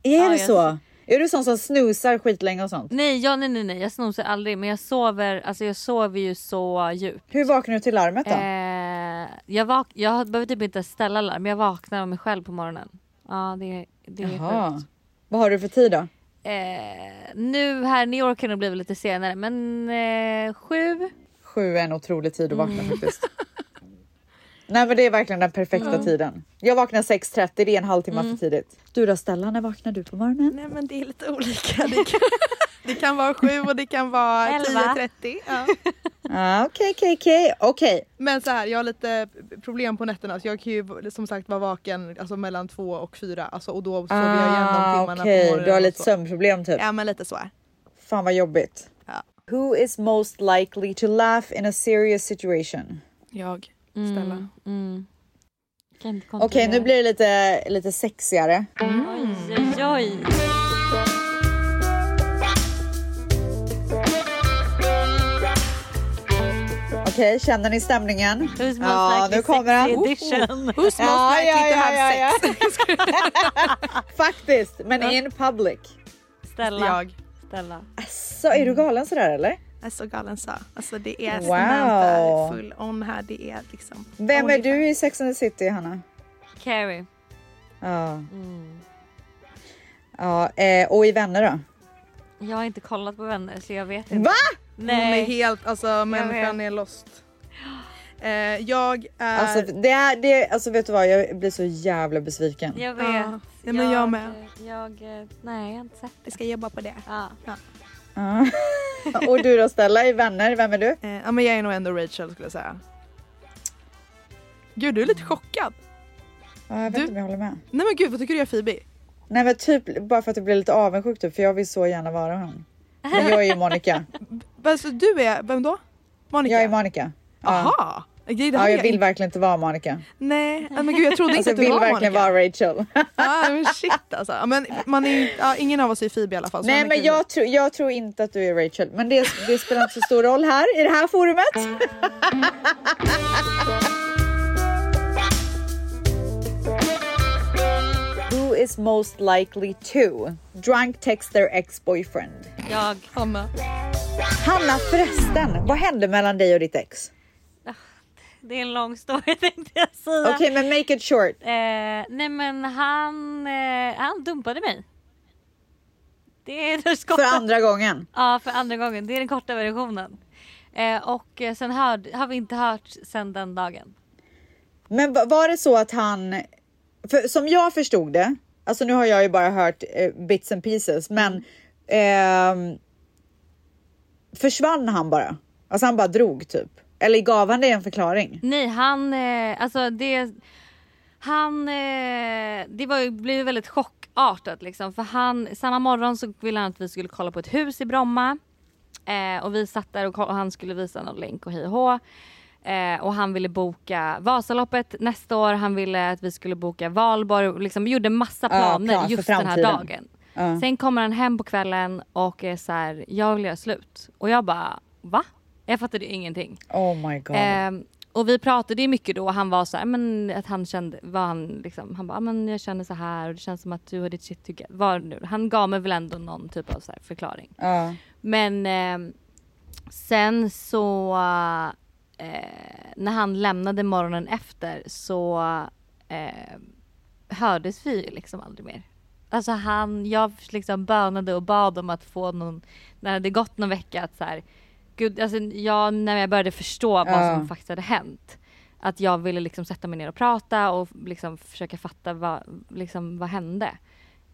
Speaker 1: Är det
Speaker 3: jag-
Speaker 1: så? Är du sån som snusar skitlänge och sånt?
Speaker 3: Nej, ja, nej, nej, nej, jag snoozar aldrig men jag sover, alltså jag sover ju så djupt.
Speaker 1: Hur vaknar du till larmet då?
Speaker 3: Eh, jag, vak- jag behöver typ inte ställa larm, jag vaknar av mig själv på morgonen. Ja det, det är sjukt.
Speaker 1: Jaha. Vad har du för tid då?
Speaker 3: Eh, nu här i New York kan det bli lite senare men eh, sju.
Speaker 1: Sju är en otrolig tid att vakna
Speaker 4: Mm.
Speaker 1: faktiskt. Nej men det är verkligen den perfekta tiden. Jag vaknar 6.30, det är en halvtimme för tidigt. Du då Stellan, när vaknar du på morgonen?
Speaker 4: Mm. Nej men det är lite olika. Det kan, det kan vara sju och det kan vara
Speaker 3: Elva.
Speaker 4: 10.30. Ja.
Speaker 1: Ah, Okej, okej, okej. Okej,
Speaker 4: Men så här, jag har lite problem på nätterna så jag kan ju som sagt vara vaken alltså, mellan två och fyra alltså, och då sover jag igen de
Speaker 1: ah,
Speaker 4: timmarna på
Speaker 1: okej.
Speaker 4: morgonen.
Speaker 1: Du har
Speaker 4: och
Speaker 1: lite
Speaker 4: så.
Speaker 1: sömnproblem typ.
Speaker 4: Ja men lite så.
Speaker 1: Fan vad jobbigt.
Speaker 4: Ja.
Speaker 1: Who is most likely to laugh in a serious situation?
Speaker 4: Jag. Stella.
Speaker 3: Mm. Kan inte
Speaker 1: Okej,
Speaker 3: kontrollera.
Speaker 1: nu blir det lite, lite sexigare.
Speaker 3: Oj, oj, oj.
Speaker 1: Okej, känner ni stämningen?
Speaker 3: Who's most
Speaker 1: Ja,
Speaker 3: likely
Speaker 1: nu kommer han.
Speaker 3: sexy edition.
Speaker 4: Who's most
Speaker 1: Ja,
Speaker 4: likely
Speaker 1: ja,
Speaker 4: to
Speaker 1: ja,
Speaker 4: have
Speaker 1: ja, ja.
Speaker 4: sex?
Speaker 1: Faktiskt, men in public.
Speaker 3: Stella.
Speaker 4: Jag.
Speaker 3: Stella.
Speaker 1: Så är du galen sådär eller?
Speaker 4: Jag är så galen så. Alltså det är
Speaker 1: Wow. Samantha full
Speaker 4: on här. Det är liksom.
Speaker 1: Vem är du i Sex and the City, Hanna?
Speaker 3: Carrie.
Speaker 1: Ja. Mm. Ja, eh, och i Vänner då?
Speaker 3: Jag har inte kollat på vänner så jag vet inte.
Speaker 1: Va?
Speaker 4: Hon är
Speaker 3: Nej.
Speaker 4: helt, alltså människan är lost. Eh, jag är...
Speaker 1: Alltså, det är, det, alltså vet du vad, jag blir så jävla besviken.
Speaker 3: Jag vet.
Speaker 4: Ja. Nej, men jag med.
Speaker 3: eh, Jag, eh, nej jag har inte sett.
Speaker 4: jag ska jobba på det.
Speaker 3: Ja.
Speaker 1: Ja. och du då Stella i Vänner, vem är du?
Speaker 4: Eh, ja men jag är nog ändå Rachel skulle jag säga. Gud du är lite chockad.
Speaker 1: Ja, jag vet
Speaker 4: Du-
Speaker 1: inte om jag håller med.
Speaker 4: Nej men gud vad tycker du jag är Phoebe?
Speaker 1: Nej men typ bara för att jag blir lite avundsjuk typ, för jag vill så gärna vara hon. Men jag är ju Monica.
Speaker 4: Alltså, du är, vem då? Monica?
Speaker 1: Jag är Monica. Ja.
Speaker 4: Aha! Gud, det
Speaker 1: Ja,
Speaker 4: hade
Speaker 1: jag vill
Speaker 4: inte-
Speaker 1: verkligen inte vara Monica.
Speaker 4: Nej ja, men gud jag trodde
Speaker 1: Alltså,
Speaker 4: inte
Speaker 1: jag vill
Speaker 4: att du var Monica.
Speaker 1: verkligen vara Rachel.
Speaker 4: Ja men shit alltså. Ja, Men man är, ju- ja, ingen av oss är Phoebe i alla fall. så
Speaker 1: Nej
Speaker 4: man är
Speaker 1: men
Speaker 4: kul.
Speaker 1: jag, tror- jag tror inte att du är Rachel. Men det, det spelar inte så stor roll här i det här forumet. Who is most likely to drunk text their ex-boyfriend?
Speaker 3: Jag.
Speaker 4: Hanna.
Speaker 1: Hanna förresten, vad hände mellan dig och ditt ex?
Speaker 3: Det är en lång story tänkte jag säga.
Speaker 1: Okej men make it short.
Speaker 3: Eh, nej men han, eh, han dumpade mig. Det är den
Speaker 1: För
Speaker 3: korta,
Speaker 1: andra gången.
Speaker 3: ja, för andra gången. Det är den korta versionen. Eh, och eh, sen hörde, har vi inte hört sen den dagen.
Speaker 1: Men va- var det så att han, för som jag förstod det, alltså nu har jag ju bara hört eh, bits and pieces, men ehm, försvann han bara? Alltså han bara drog typ? Eller gav han dig en förklaring?
Speaker 3: Nej han, eh, alltså det, han, eh, det var ju, blev ju väldigt chockartat liksom för han, samma morgon så ville han att vi skulle kolla på ett hus i Bromma eh, och vi satt där och, koll- och han skulle visa någon länk och hej och hå. Eh, och han ville boka Vasaloppet nästa år, han ville att vi skulle boka valborg och liksom gjorde massa
Speaker 1: Ja,
Speaker 3: planer
Speaker 1: plan för
Speaker 3: just den här
Speaker 1: framtiden.
Speaker 3: dagen.
Speaker 1: Ja.
Speaker 3: Sen kommer han hem på kvällen och är så här, jag vill göra slut. Och jag bara, va? Jag fattade ju ingenting.
Speaker 1: Oh my god.
Speaker 3: Ehm, och vi pratade ju mycket då och han var så här, men att han kände, var han liksom, han bara, "Ah, men jag känner så här och det känns som att du har ditt shit together. Var nu? Han gav mig väl ändå någon typ av så här förklaring.
Speaker 1: Ja.
Speaker 3: Men ehm, sen så eh, när han lämnade morgonen efter så eh, hördes vi ju liksom aldrig mer. Alltså han, jag liksom bönade och bad om att få någon, när det hade gått någon vecka att så här, gud, alltså jag, när jag började förstå vad
Speaker 1: Ja.
Speaker 3: som faktiskt hade hänt. Att jag ville liksom sätta mig ner och prata och liksom försöka fatta vad, liksom, vad hände.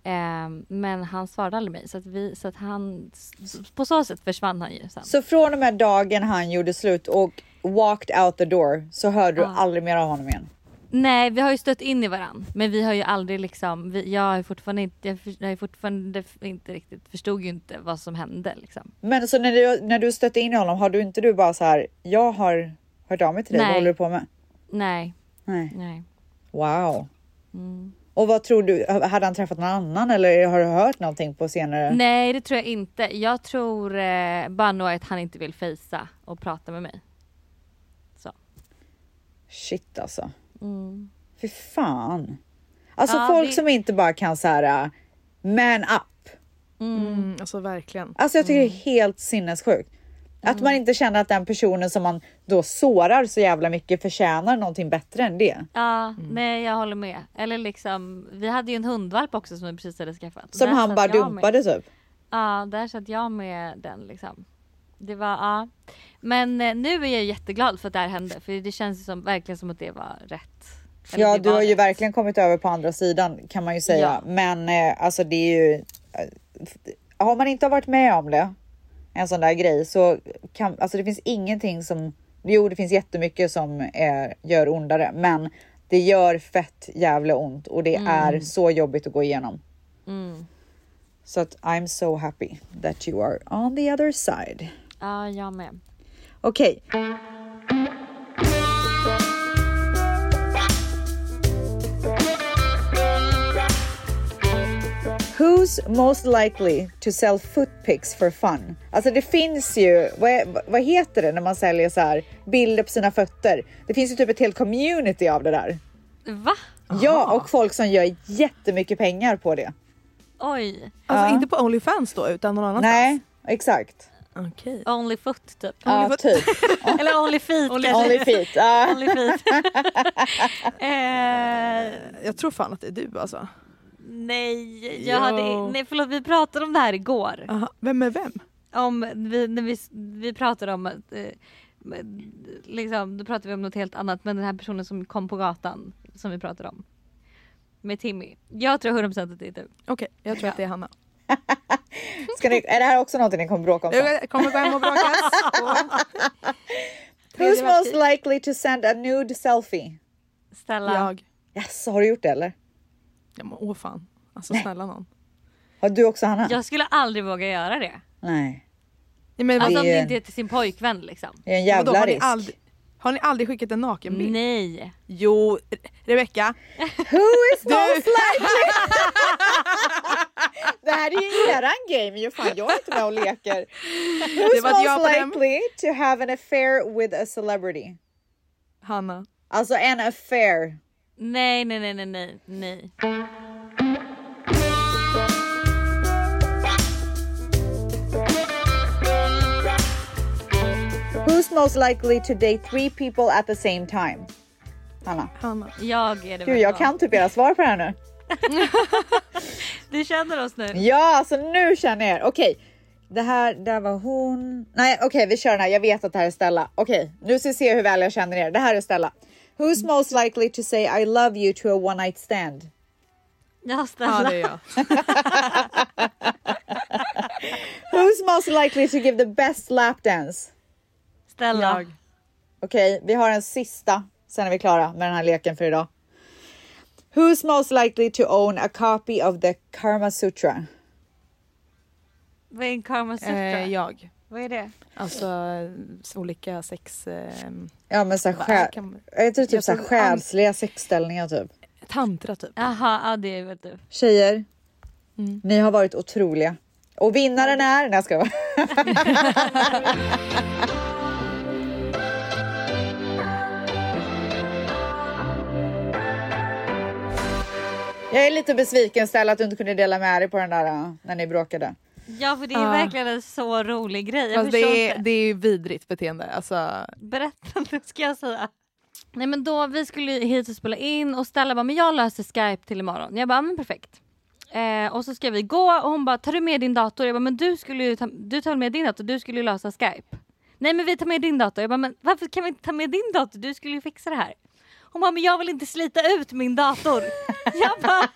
Speaker 3: Ehm, men han svarade aldrig mig så att, vi, så att han, s- på så sätt försvann han ju sen.
Speaker 1: Så från och med dagen han gjorde slut och walked out the door så hörde
Speaker 3: Ja.
Speaker 1: du aldrig mer av honom igen?
Speaker 3: Nej, vi har ju stött in i varandra. Men vi har ju aldrig liksom, vi, jag har ju fortfarande inte, jag, för, jag har ju fortfarande f- inte riktigt, förstod ju inte vad som hände liksom.
Speaker 1: Men så när du, när du stötte in i honom, har du inte du bara så här, jag har hört av mig till dig,
Speaker 3: Nej.
Speaker 1: vad håller du på med?
Speaker 3: Nej.
Speaker 1: Nej.
Speaker 3: Nej.
Speaker 1: Wow. Och vad tror du, hade han träffat någon annan eller har du hört någonting på senare?
Speaker 3: Nej, det tror jag inte. Jag tror eh, bara nog att han inte vill fejsa och prata med mig. Så.
Speaker 1: Shit alltså.
Speaker 3: Mm.
Speaker 1: Fy fan. Alltså
Speaker 4: Ja,
Speaker 1: folk
Speaker 4: det-
Speaker 1: som inte bara kan så här uh, man up.
Speaker 4: Mm, alltså verkligen.
Speaker 1: Alltså jag tycker det är helt sinnessjukt. Att man inte känner att den personen som man då sårar så jävla mycket förtjänar någonting bättre än det.
Speaker 3: Ja,
Speaker 1: Mm.
Speaker 3: nej jag håller med. Eller liksom, vi hade ju en hundvalp också som vi precis hade skaffat.
Speaker 1: Som
Speaker 3: Där
Speaker 1: han
Speaker 3: satt
Speaker 1: bara
Speaker 3: jag med-
Speaker 1: dumpade typ.
Speaker 3: Ja, där satt jag med den liksom. Det var, ja. Men eh, nu är jag jätteglad för att det här hände för det känns ju som, verkligen som att det var rätt. Eller
Speaker 1: Ja,
Speaker 3: det
Speaker 1: du
Speaker 3: var
Speaker 1: har ju
Speaker 3: rätt.
Speaker 1: verkligen kommit över på andra sidan kan man ju säga.
Speaker 3: Ja.
Speaker 1: Men eh, alltså det är ju... eh, f- Har man inte varit med om det, en sån där grej, så kan... Alltså det finns ingenting som... Jo, det finns jättemycket som är, gör ondare, men det gör fett jävla ont och det
Speaker 3: Mm.
Speaker 1: är så jobbigt att gå igenom.
Speaker 3: Mm.
Speaker 1: Så att I'm so happy that you are on the other side.
Speaker 3: Ja, jag med.
Speaker 1: Okej. Who's most likely to sell foot pics for fun? Alltså det finns ju, vad, är- vad heter det när man säljer så här bilder på sina fötter? Det finns ju typ ett helt community av det där.
Speaker 3: Va?
Speaker 1: Ja, och folk som gör jättemycket pengar på det.
Speaker 3: Oj.
Speaker 4: Alltså
Speaker 1: Ja.
Speaker 4: inte på Onlyfans då utan någon annanstans?
Speaker 1: Nej, exakt.
Speaker 4: Okej.
Speaker 3: Only foot typ.
Speaker 1: Ja,
Speaker 3: Only foot.
Speaker 1: typ.
Speaker 3: Eller only feet
Speaker 4: Only
Speaker 3: kanske.
Speaker 1: Only feet, Ah, ja.
Speaker 3: Only feet. eh,
Speaker 4: Jag tror fan att det är du alltså.
Speaker 3: nej,
Speaker 4: Jo.
Speaker 3: jag hade, nej förlåt vi pratade om det här igår.
Speaker 4: Aha. Vem är vem?
Speaker 3: om vi, när vi, vi pratade om att eh, med- liksom, då pratade vi om något helt annat men den här personen som kom på gatan som vi pratade om. Med Timmy. Jag tror 100% att det är du.
Speaker 4: Okej, jag tror att det är Hanna.
Speaker 1: Ska ni, är det här också någonting ni kommer bråka om sen?
Speaker 4: Jag kommer gå hem och bråkas.
Speaker 1: Who's
Speaker 4: Tredje
Speaker 1: most
Speaker 4: världskrig.
Speaker 1: likely to send a nude selfie?
Speaker 3: Stella.
Speaker 4: Jag.
Speaker 1: Jaså, har du gjort det eller?
Speaker 4: Ja, men, åh fan. Alltså snälla någon.
Speaker 1: Har du också Hanna?
Speaker 3: Jag skulle aldrig våga göra det.
Speaker 1: Nej.
Speaker 4: men,
Speaker 3: Alltså om
Speaker 1: Det är
Speaker 3: det
Speaker 1: en-
Speaker 3: inte är till sin pojkvän liksom.
Speaker 1: Det är en
Speaker 4: Vadå,
Speaker 1: jävla
Speaker 4: har, ni
Speaker 1: risk. Mm.
Speaker 4: aldrig, har ni aldrig skickat en nakenbild?
Speaker 3: Nej.
Speaker 4: Jo, Re- Rebecka.
Speaker 1: Who is
Speaker 4: Du-
Speaker 1: most likely? det här är ju eran game ju. Fan, jag är inte med och leker.
Speaker 4: Det
Speaker 1: Who's
Speaker 4: var ett ja
Speaker 1: most
Speaker 4: på den.
Speaker 1: likely to have an affair with a celebrity?
Speaker 4: Hanna.
Speaker 1: Alltså en affair.
Speaker 3: Nej nej nej nej nej. nej.
Speaker 1: Who's most likely to date three people at the same time? Hanna.
Speaker 4: Hanna.
Speaker 3: Jag är det
Speaker 1: Gud,
Speaker 3: väl
Speaker 1: jag
Speaker 3: då.
Speaker 1: kan typ era svar på det här nu.
Speaker 3: Du känner oss nu.
Speaker 1: Ja, alltså nu känner jag er. Okej, det här, där var hon. Nej, okej, vi kör den här. Jag vet att det här är Stella. Okej, nu ska vi se hur väl jag känner er. Det här är Stella. Who's most likely to say I love you to a one night stand?
Speaker 3: Ja, Stella.
Speaker 4: Ja, det är jag.
Speaker 1: Who's most likely to give the best lap dance?
Speaker 3: Stella.
Speaker 1: Okej, vi har en sista. Sen är vi klara med den här leken för idag. Who's most likely to own a copy of the Karma Sutra?
Speaker 3: Vad är en karma sutra?
Speaker 4: Eh, jag.
Speaker 3: Vad är det?
Speaker 4: Alltså eh, olika sex... Eh,
Speaker 1: Ja, men så här,
Speaker 4: Vad
Speaker 1: själ...
Speaker 4: kan man-
Speaker 1: Jag tror typ
Speaker 4: Jag
Speaker 1: så här
Speaker 4: tror-
Speaker 1: själsliga sexställningar typ.
Speaker 4: tantra typ.
Speaker 3: Jaha, ja det vet du.
Speaker 1: Tjejer, ni har varit otroliga. Och vinnaren är... Nej, jag skojar bara. Jag är lite besviken Stella att du inte kunde dela med dig på den där äh, när ni bråkade.
Speaker 3: Ja för det är
Speaker 4: Ja.
Speaker 3: verkligen en så rolig grej. Jag
Speaker 4: Fast
Speaker 3: förstår
Speaker 4: det, är,
Speaker 3: inte.
Speaker 4: det är ju vidrigt beteende. Alltså,
Speaker 3: Berätta nu ska jag säga. Nej men då, vi skulle hit och spela in och Stella bara, men jag löser Skype till imorgon. Jag bara, men perfekt. Eh, och så ska vi gå och hon bara, tar du med din dator? Jag bara, men du skulle ju ta, du tar väl med din dator? Du skulle ju lösa Skype. Nej men vi tar med din dator. Jag bara, men varför kan vi inte ta med din dator? Du skulle ju fixa det här. Hon bara, men jag vill inte slita ut min dator. Jag bara,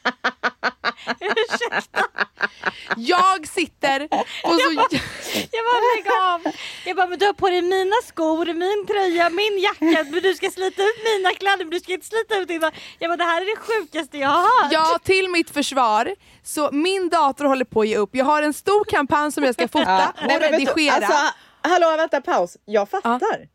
Speaker 4: jag sitter och så...
Speaker 3: jag bara lägg av. Jag bara, men du har på dig mina skor, min tröja, min jacka. Men du ska slita ut mina kläder, men du ska inte slita ut dina. Jag bara, det här är det sjukaste jag har hört.
Speaker 4: Ja, till mitt försvar. Så min dator håller på att ge upp. Jag har en stor kampanj som jag ska fota och
Speaker 1: Nej, men vet du,
Speaker 4: redigera.
Speaker 1: alltså, hallå, vänta, paus. Jag fattar.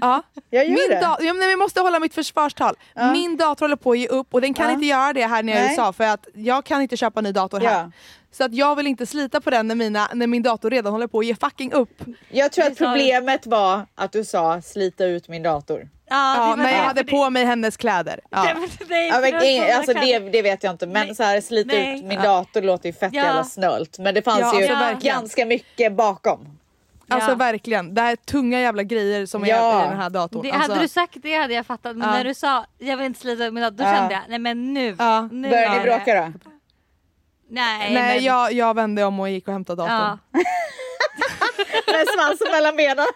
Speaker 4: Ja.
Speaker 1: Jag gör
Speaker 4: Min
Speaker 1: det.
Speaker 4: da- ja, men vi måste hålla mitt försvarstal.
Speaker 1: Ja.
Speaker 4: Min dator håller på att ge upp och den kan
Speaker 1: Ja.
Speaker 4: inte göra det här nere i
Speaker 1: Nej.
Speaker 4: USA för att jag kan inte köpa en ny dator här.
Speaker 1: Ja.
Speaker 4: Så att jag vill inte slita på den när, mina, när min dator redan håller på att ge fucking upp.
Speaker 1: Jag tror att
Speaker 4: sa du.
Speaker 1: problemet var att du sa slita ut min dator.
Speaker 4: Ja,
Speaker 3: det var
Speaker 4: när jag
Speaker 3: det,
Speaker 4: hade
Speaker 3: för
Speaker 4: på mig hennes kläder. Ja.
Speaker 3: Nej,
Speaker 1: Ja,
Speaker 3: för
Speaker 1: men,
Speaker 3: det var
Speaker 1: ing-
Speaker 3: sådana
Speaker 1: alltså, det,
Speaker 3: kläder.
Speaker 1: det vet jag inte men så här slita
Speaker 3: Nej.
Speaker 1: ut min
Speaker 3: Ja.
Speaker 1: dator låter ju fett
Speaker 4: Ja.
Speaker 1: jävla snölt men det fanns
Speaker 4: Ja,
Speaker 1: ju
Speaker 4: alltså, verkligen.
Speaker 1: ganska mycket bakom.
Speaker 4: Alltså
Speaker 3: Ja.
Speaker 4: verkligen, det här är tunga jävla grejer som är
Speaker 1: Ja.
Speaker 4: i den här datorn.
Speaker 3: Det,
Speaker 4: alltså,
Speaker 3: Hade du sagt det hade jag fattat men
Speaker 4: Ja.
Speaker 3: när du sa jag vill inte slita ut min dator då
Speaker 4: Ja.
Speaker 3: kände jag nej men nu.
Speaker 4: Ja.
Speaker 3: nu
Speaker 1: Började
Speaker 3: är
Speaker 1: ni
Speaker 3: det-
Speaker 1: bråka då?
Speaker 3: Nej,
Speaker 4: Nej,
Speaker 3: men,
Speaker 4: jag, jag vände om och gick och hämtade datorn.
Speaker 3: Ja.
Speaker 1: Med svansen mellan benen.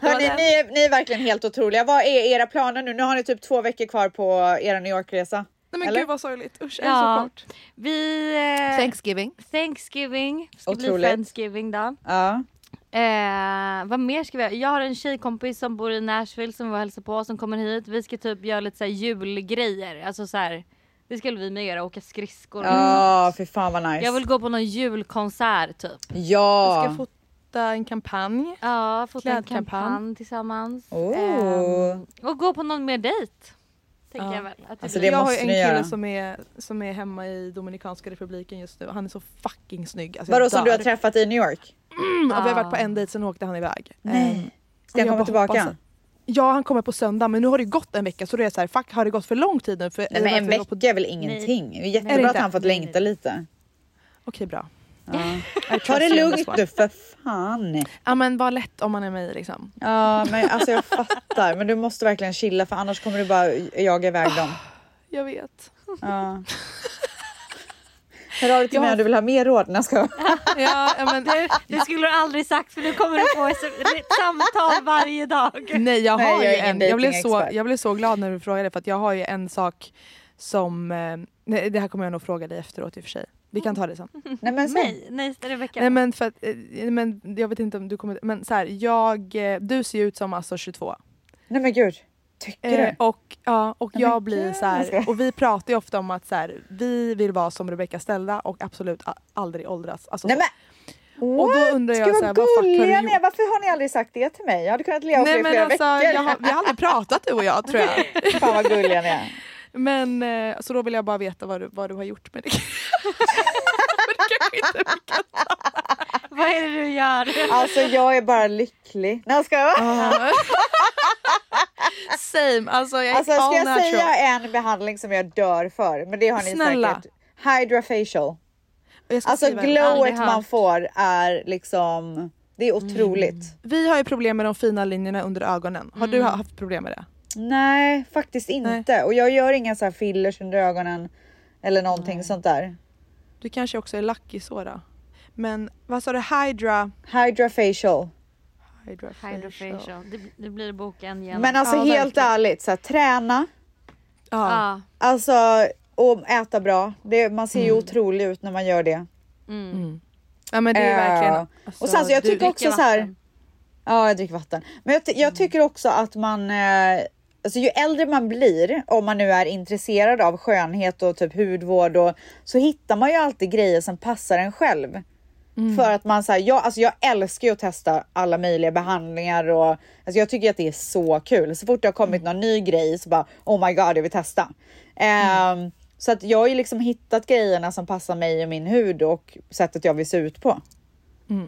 Speaker 1: Hörni,
Speaker 3: det.
Speaker 1: ni, är- ni är verkligen helt otroliga. Vad är era planer nu? Nu har ni typ två veckor kvar på er New York-resa.
Speaker 4: Nej, men
Speaker 1: Eller?
Speaker 4: gud vad sorgligt. Usch, jag är
Speaker 3: Ja.
Speaker 4: så kort.
Speaker 3: Vi... eh,
Speaker 4: Thanksgiving.
Speaker 3: Thanksgiving. Ska bli
Speaker 1: Otroligt.
Speaker 3: Friendsgiving då.
Speaker 1: Ja.
Speaker 3: Eh, vad mer ska vi göra? Jag har en tjejkompis som bor i Nashville som vi var och hälsade på som kommer hit. Vi ska typ göra lite så här julgrejer. Alltså så här, det skulle vi med göra. Åka skridskor. och
Speaker 1: Ja,
Speaker 4: Mm.
Speaker 3: sånt.
Speaker 1: fy fan vad nice.
Speaker 3: Jag vill gå på någon julkonsert typ.
Speaker 4: Jag
Speaker 1: Ja.
Speaker 4: ska fota en kampanj.
Speaker 3: Ja, fota en
Speaker 4: Klädkampanj.
Speaker 3: kampanj tillsammans.
Speaker 1: Oh.
Speaker 4: Ehm,
Speaker 3: Och gå på någon mer dejt. Tänker
Speaker 4: Ja.
Speaker 3: jag väl. Att det
Speaker 1: Alltså,
Speaker 3: blir.
Speaker 1: det
Speaker 4: jag har ju
Speaker 1: måste
Speaker 4: en
Speaker 1: ni göra.
Speaker 4: kille som är, som är hemma i Dominikanska republiken just nu. Han är så fucking snygg. Alltså, jag
Speaker 1: Vadå som du har
Speaker 4: dör.
Speaker 1: träffat i New York?
Speaker 4: Mm, och Vi har varit på en dejt sen åkte han iväg.
Speaker 1: Nej. Ska
Speaker 4: Ehm,
Speaker 1: han
Speaker 4: jag
Speaker 1: komma
Speaker 4: bara hoppas
Speaker 1: tillbaka?
Speaker 4: att- Ja han kommer på söndag men nu har det gått en vecka så då är jag så här, fuck har det gått för lång tid nu? För,
Speaker 1: Nej, men
Speaker 4: i och med
Speaker 1: en
Speaker 4: att vi var
Speaker 1: vecka
Speaker 4: på-
Speaker 1: är väl ingenting? Det är
Speaker 4: Är
Speaker 1: jättebra
Speaker 4: det
Speaker 1: att
Speaker 4: inte?
Speaker 1: han fått
Speaker 3: Nej,
Speaker 1: längta lite.
Speaker 4: Okej bra.
Speaker 1: Ja. Ta det lugnt nu för fan.
Speaker 4: Ja men var lätt om man är mig liksom.
Speaker 1: Ja, men alltså jag fattar. Men du måste verkligen chilla för annars kommer du bara jaga iväg dem.
Speaker 4: Jag vet.
Speaker 1: Ja. Hör av dig till
Speaker 4: Jag
Speaker 1: mig
Speaker 4: har-
Speaker 1: om du vill ha mer råd. Nej, jag skojar.
Speaker 4: Ja, ja, men,
Speaker 3: Det skulle du aldrig sagt för nu kommer du få ett samtal varje dag.
Speaker 4: nej jag
Speaker 1: Nej,
Speaker 4: har
Speaker 1: jag är
Speaker 4: ju
Speaker 1: ingen
Speaker 4: en. Jag blev, så,
Speaker 1: datingexpert.
Speaker 4: jag blev så glad när du frågade för att jag har ju en sak som, eh, nej, det här kommer jag nog fråga dig efteråt i och för sig. Vi
Speaker 1: Mm.
Speaker 4: kan ta det sen.
Speaker 1: Nej, men sen.
Speaker 3: Nej, nej Rebecka.
Speaker 4: Nej men för att, eh, men jag vet inte om du kommer, men så här, jag, eh, du ser ju ut som alltså 22.
Speaker 1: Nej, men gud. Tycker
Speaker 4: Eh,
Speaker 1: du?
Speaker 4: och ja, och
Speaker 1: Ja,
Speaker 4: jag
Speaker 1: men
Speaker 4: blir
Speaker 1: gud.
Speaker 4: så här, och vi pratar ju ofta om att så här, vi vill vara som Rebecca Stella och absolut a- aldrig åldras. Alltså,
Speaker 1: Nej,
Speaker 4: så.
Speaker 1: men
Speaker 4: och då
Speaker 1: what?
Speaker 4: undrar jag
Speaker 1: Gud,
Speaker 4: så här,
Speaker 1: vad
Speaker 4: vad fuck har du
Speaker 1: gulliga ni är.
Speaker 4: gjort?
Speaker 1: Varför har ni aldrig sagt det till mig? Jag hade kunnat leva på
Speaker 4: Nej
Speaker 1: det i
Speaker 4: men
Speaker 1: flera
Speaker 4: alltså,
Speaker 1: veckor.
Speaker 4: jag har, vi har aldrig pratat du och jag tror jag.
Speaker 1: Fan vad gulliga ni är.
Speaker 4: Men eh, så då vill jag bara veta vad du, vad du har gjort med det.
Speaker 3: Vad är det du gör?
Speaker 1: Alltså jag är bara lycklig. Nej, jag skojar.
Speaker 4: Same, alltså jag är
Speaker 1: Alltså ska
Speaker 4: all
Speaker 1: jag
Speaker 4: natural.
Speaker 1: säga en behandling som jag dör för? Men det har ni
Speaker 4: Snälla.
Speaker 1: säkert. Hydrafacial.
Speaker 4: Jag ska
Speaker 1: Alltså
Speaker 4: skriva det.
Speaker 1: glowet
Speaker 3: Aldrig hört.
Speaker 1: man får är liksom, det är otroligt.
Speaker 4: Vi har ju problem med de fina linjerna under ögonen. Har du ha- haft problem med det?
Speaker 1: Nej, faktiskt inte. Och jag gör inga så här fillers under ögonen eller någonting sånt där.
Speaker 4: Du kanske också är lucky så då. Men vad sa du? Hydra...
Speaker 1: Hydrafacial.
Speaker 4: Hydra facial.
Speaker 3: Hydrofacial. Det, det blir boken igen.
Speaker 1: Men alltså
Speaker 4: Ja,
Speaker 1: helt
Speaker 4: verkligen.
Speaker 1: ärligt, så här, träna,
Speaker 4: Ah.
Speaker 3: Ja.
Speaker 1: Alltså, och äta bra. Det, man ser ju otrolig ut när man gör det.
Speaker 4: Mm. Ja men det är
Speaker 1: Eh,
Speaker 4: verkligen... Alltså,
Speaker 1: och sen så jag tycker också så här. Ja, jag dricker vatten. Men jag, ty-
Speaker 4: Mm.
Speaker 1: jag tycker också att man, eh, alltså ju äldre man blir, om man nu är intresserad av skönhet och typ hudvård och så hittar man ju alltid grejer som passar en själv.
Speaker 4: Mm.
Speaker 1: För att man säger, jag, alltså jag älskar ju att testa alla möjliga behandlingar och alltså jag tycker att det är så kul. Så fort det har kommit
Speaker 4: Mm.
Speaker 1: någon ny grej så bara oh my god jag vill testa. Ehm,
Speaker 4: Mm.
Speaker 1: så att jag har ju liksom hittat grejerna som passar mig och min hud och sättet jag vill se ut på.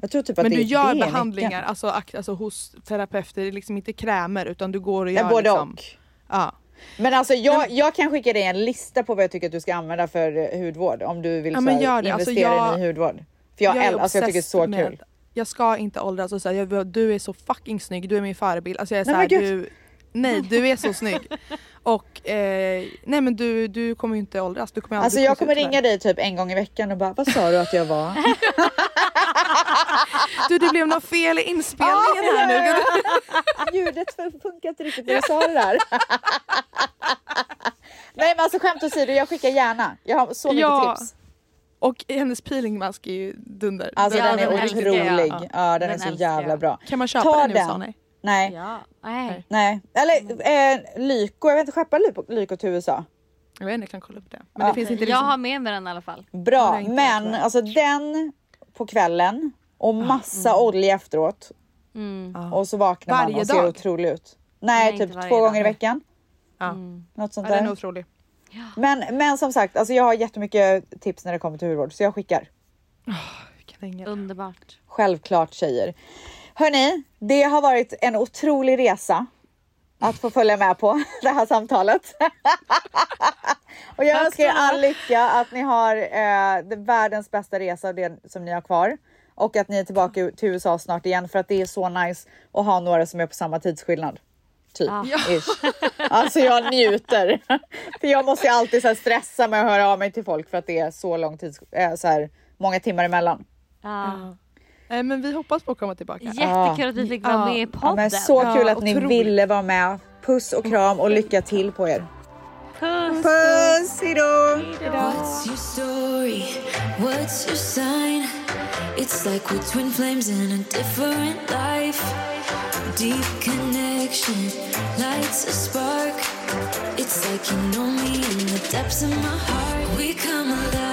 Speaker 1: Jag tror typ att
Speaker 4: Mm. Men
Speaker 1: det,
Speaker 4: du
Speaker 1: det är
Speaker 4: gör
Speaker 1: nyckeln.
Speaker 4: behandlingar alltså, ak- alltså, hos terapeuter, det är liksom inte krämer utan du går och
Speaker 1: Nej,
Speaker 4: gör
Speaker 1: både
Speaker 4: liksom...
Speaker 1: och.
Speaker 4: Ja.
Speaker 1: Men alltså jag, jag kan skicka dig en lista på vad jag tycker att du ska använda för eh, hudvård om du vill
Speaker 4: Ja,
Speaker 1: så
Speaker 4: men
Speaker 1: här
Speaker 4: gör det.
Speaker 1: investera
Speaker 4: Alltså,
Speaker 1: i
Speaker 4: jag-
Speaker 1: ny hudvård. För jag, äl- alltså, jag tycker det är så kul.
Speaker 4: obsessed med- Jag ska inte åldras och säga jag- du är så fucking snygg, du är min förebild. Alltså jag är
Speaker 1: Nej,
Speaker 4: så här,
Speaker 1: men gud.
Speaker 4: du, nej du är så snygg. Och eh, nej men du, du kommer ju inte åldras. Du kommer aldrig
Speaker 1: Alltså jag
Speaker 4: se ut
Speaker 1: kommer
Speaker 4: så
Speaker 1: ringa
Speaker 4: här.
Speaker 1: dig typ en gång i veckan och bara vad sa du att jag var?
Speaker 4: Du det blev något fel i inspelningen
Speaker 1: Ah,
Speaker 4: här nu.
Speaker 1: Ljudet funkar inte riktigt när du sa det där. Nej men alltså skämt åsido jag skickar gärna. Jag har så mycket
Speaker 4: Ja.
Speaker 1: tips.
Speaker 4: Och hennes peelingmask är ju dunder.
Speaker 1: Alltså den, är
Speaker 4: älskar
Speaker 1: otrolig.
Speaker 4: jag.
Speaker 1: Ja, den, är så jävla bra.
Speaker 4: Kan man köpa den i USA? Nej.
Speaker 1: Nej.
Speaker 3: Nej.
Speaker 1: Nej.
Speaker 4: Mm.
Speaker 1: Eller eh, Lyko, jag vet inte, skeppa Lyko, Lyko till USA?
Speaker 4: Jag vet inte, jag kan kolla upp det.
Speaker 1: Men det finns inte
Speaker 3: Jag
Speaker 1: liksom-
Speaker 3: har med mig den i alla fall.
Speaker 1: Bra, men alltså den på kvällen och
Speaker 4: Ah,
Speaker 1: massa olja efteråt
Speaker 3: Mm.
Speaker 1: och så vaknar man
Speaker 4: Varje
Speaker 1: och ser
Speaker 4: dag?
Speaker 1: otrolig ut. Nej,
Speaker 4: Nej, Ah.
Speaker 1: typ
Speaker 4: inte varje
Speaker 1: två
Speaker 4: dag.
Speaker 1: gånger i veckan.
Speaker 4: Ja.
Speaker 1: Något
Speaker 4: ja,
Speaker 1: sånt
Speaker 4: den är
Speaker 1: där.
Speaker 4: otrolig.
Speaker 1: Men, men som sagt, alltså jag har jättemycket tips när det kommer till hudvård så jag skickar.
Speaker 3: Underbart.
Speaker 1: Självklart tjejer. Hörni, det har varit en otrolig resa att få följa med på det här samtalet. Och jag önskar er all lycka att ni har eh, det världens bästa resa och det som ni har kvar och att ni är tillbaka till USA snart igen för att det är så nice att ha några som är på samma tidsskillnad. Typ.
Speaker 3: Ja.
Speaker 1: Ish. Alltså jag njuter. För jag måste ju alltid så här stressa med att höra av mig till folk för att det är så lång tids, eh, så här, många timmar emellan.
Speaker 3: Ja.
Speaker 4: Nej, Eh, men vi hoppas på att komma tillbaka.
Speaker 3: Jättekul att vi fick vara med i podden.
Speaker 1: Ja, men så kul att ni ville vara med. Puss och kram och lycka till på er.
Speaker 3: Puss!
Speaker 1: Puss, hejdå!
Speaker 2: What's your story? What's your sign? It's like we're twin flames in a different life. Deep connection lights a spark. It's like you know me in the depths of my heart. We come alive.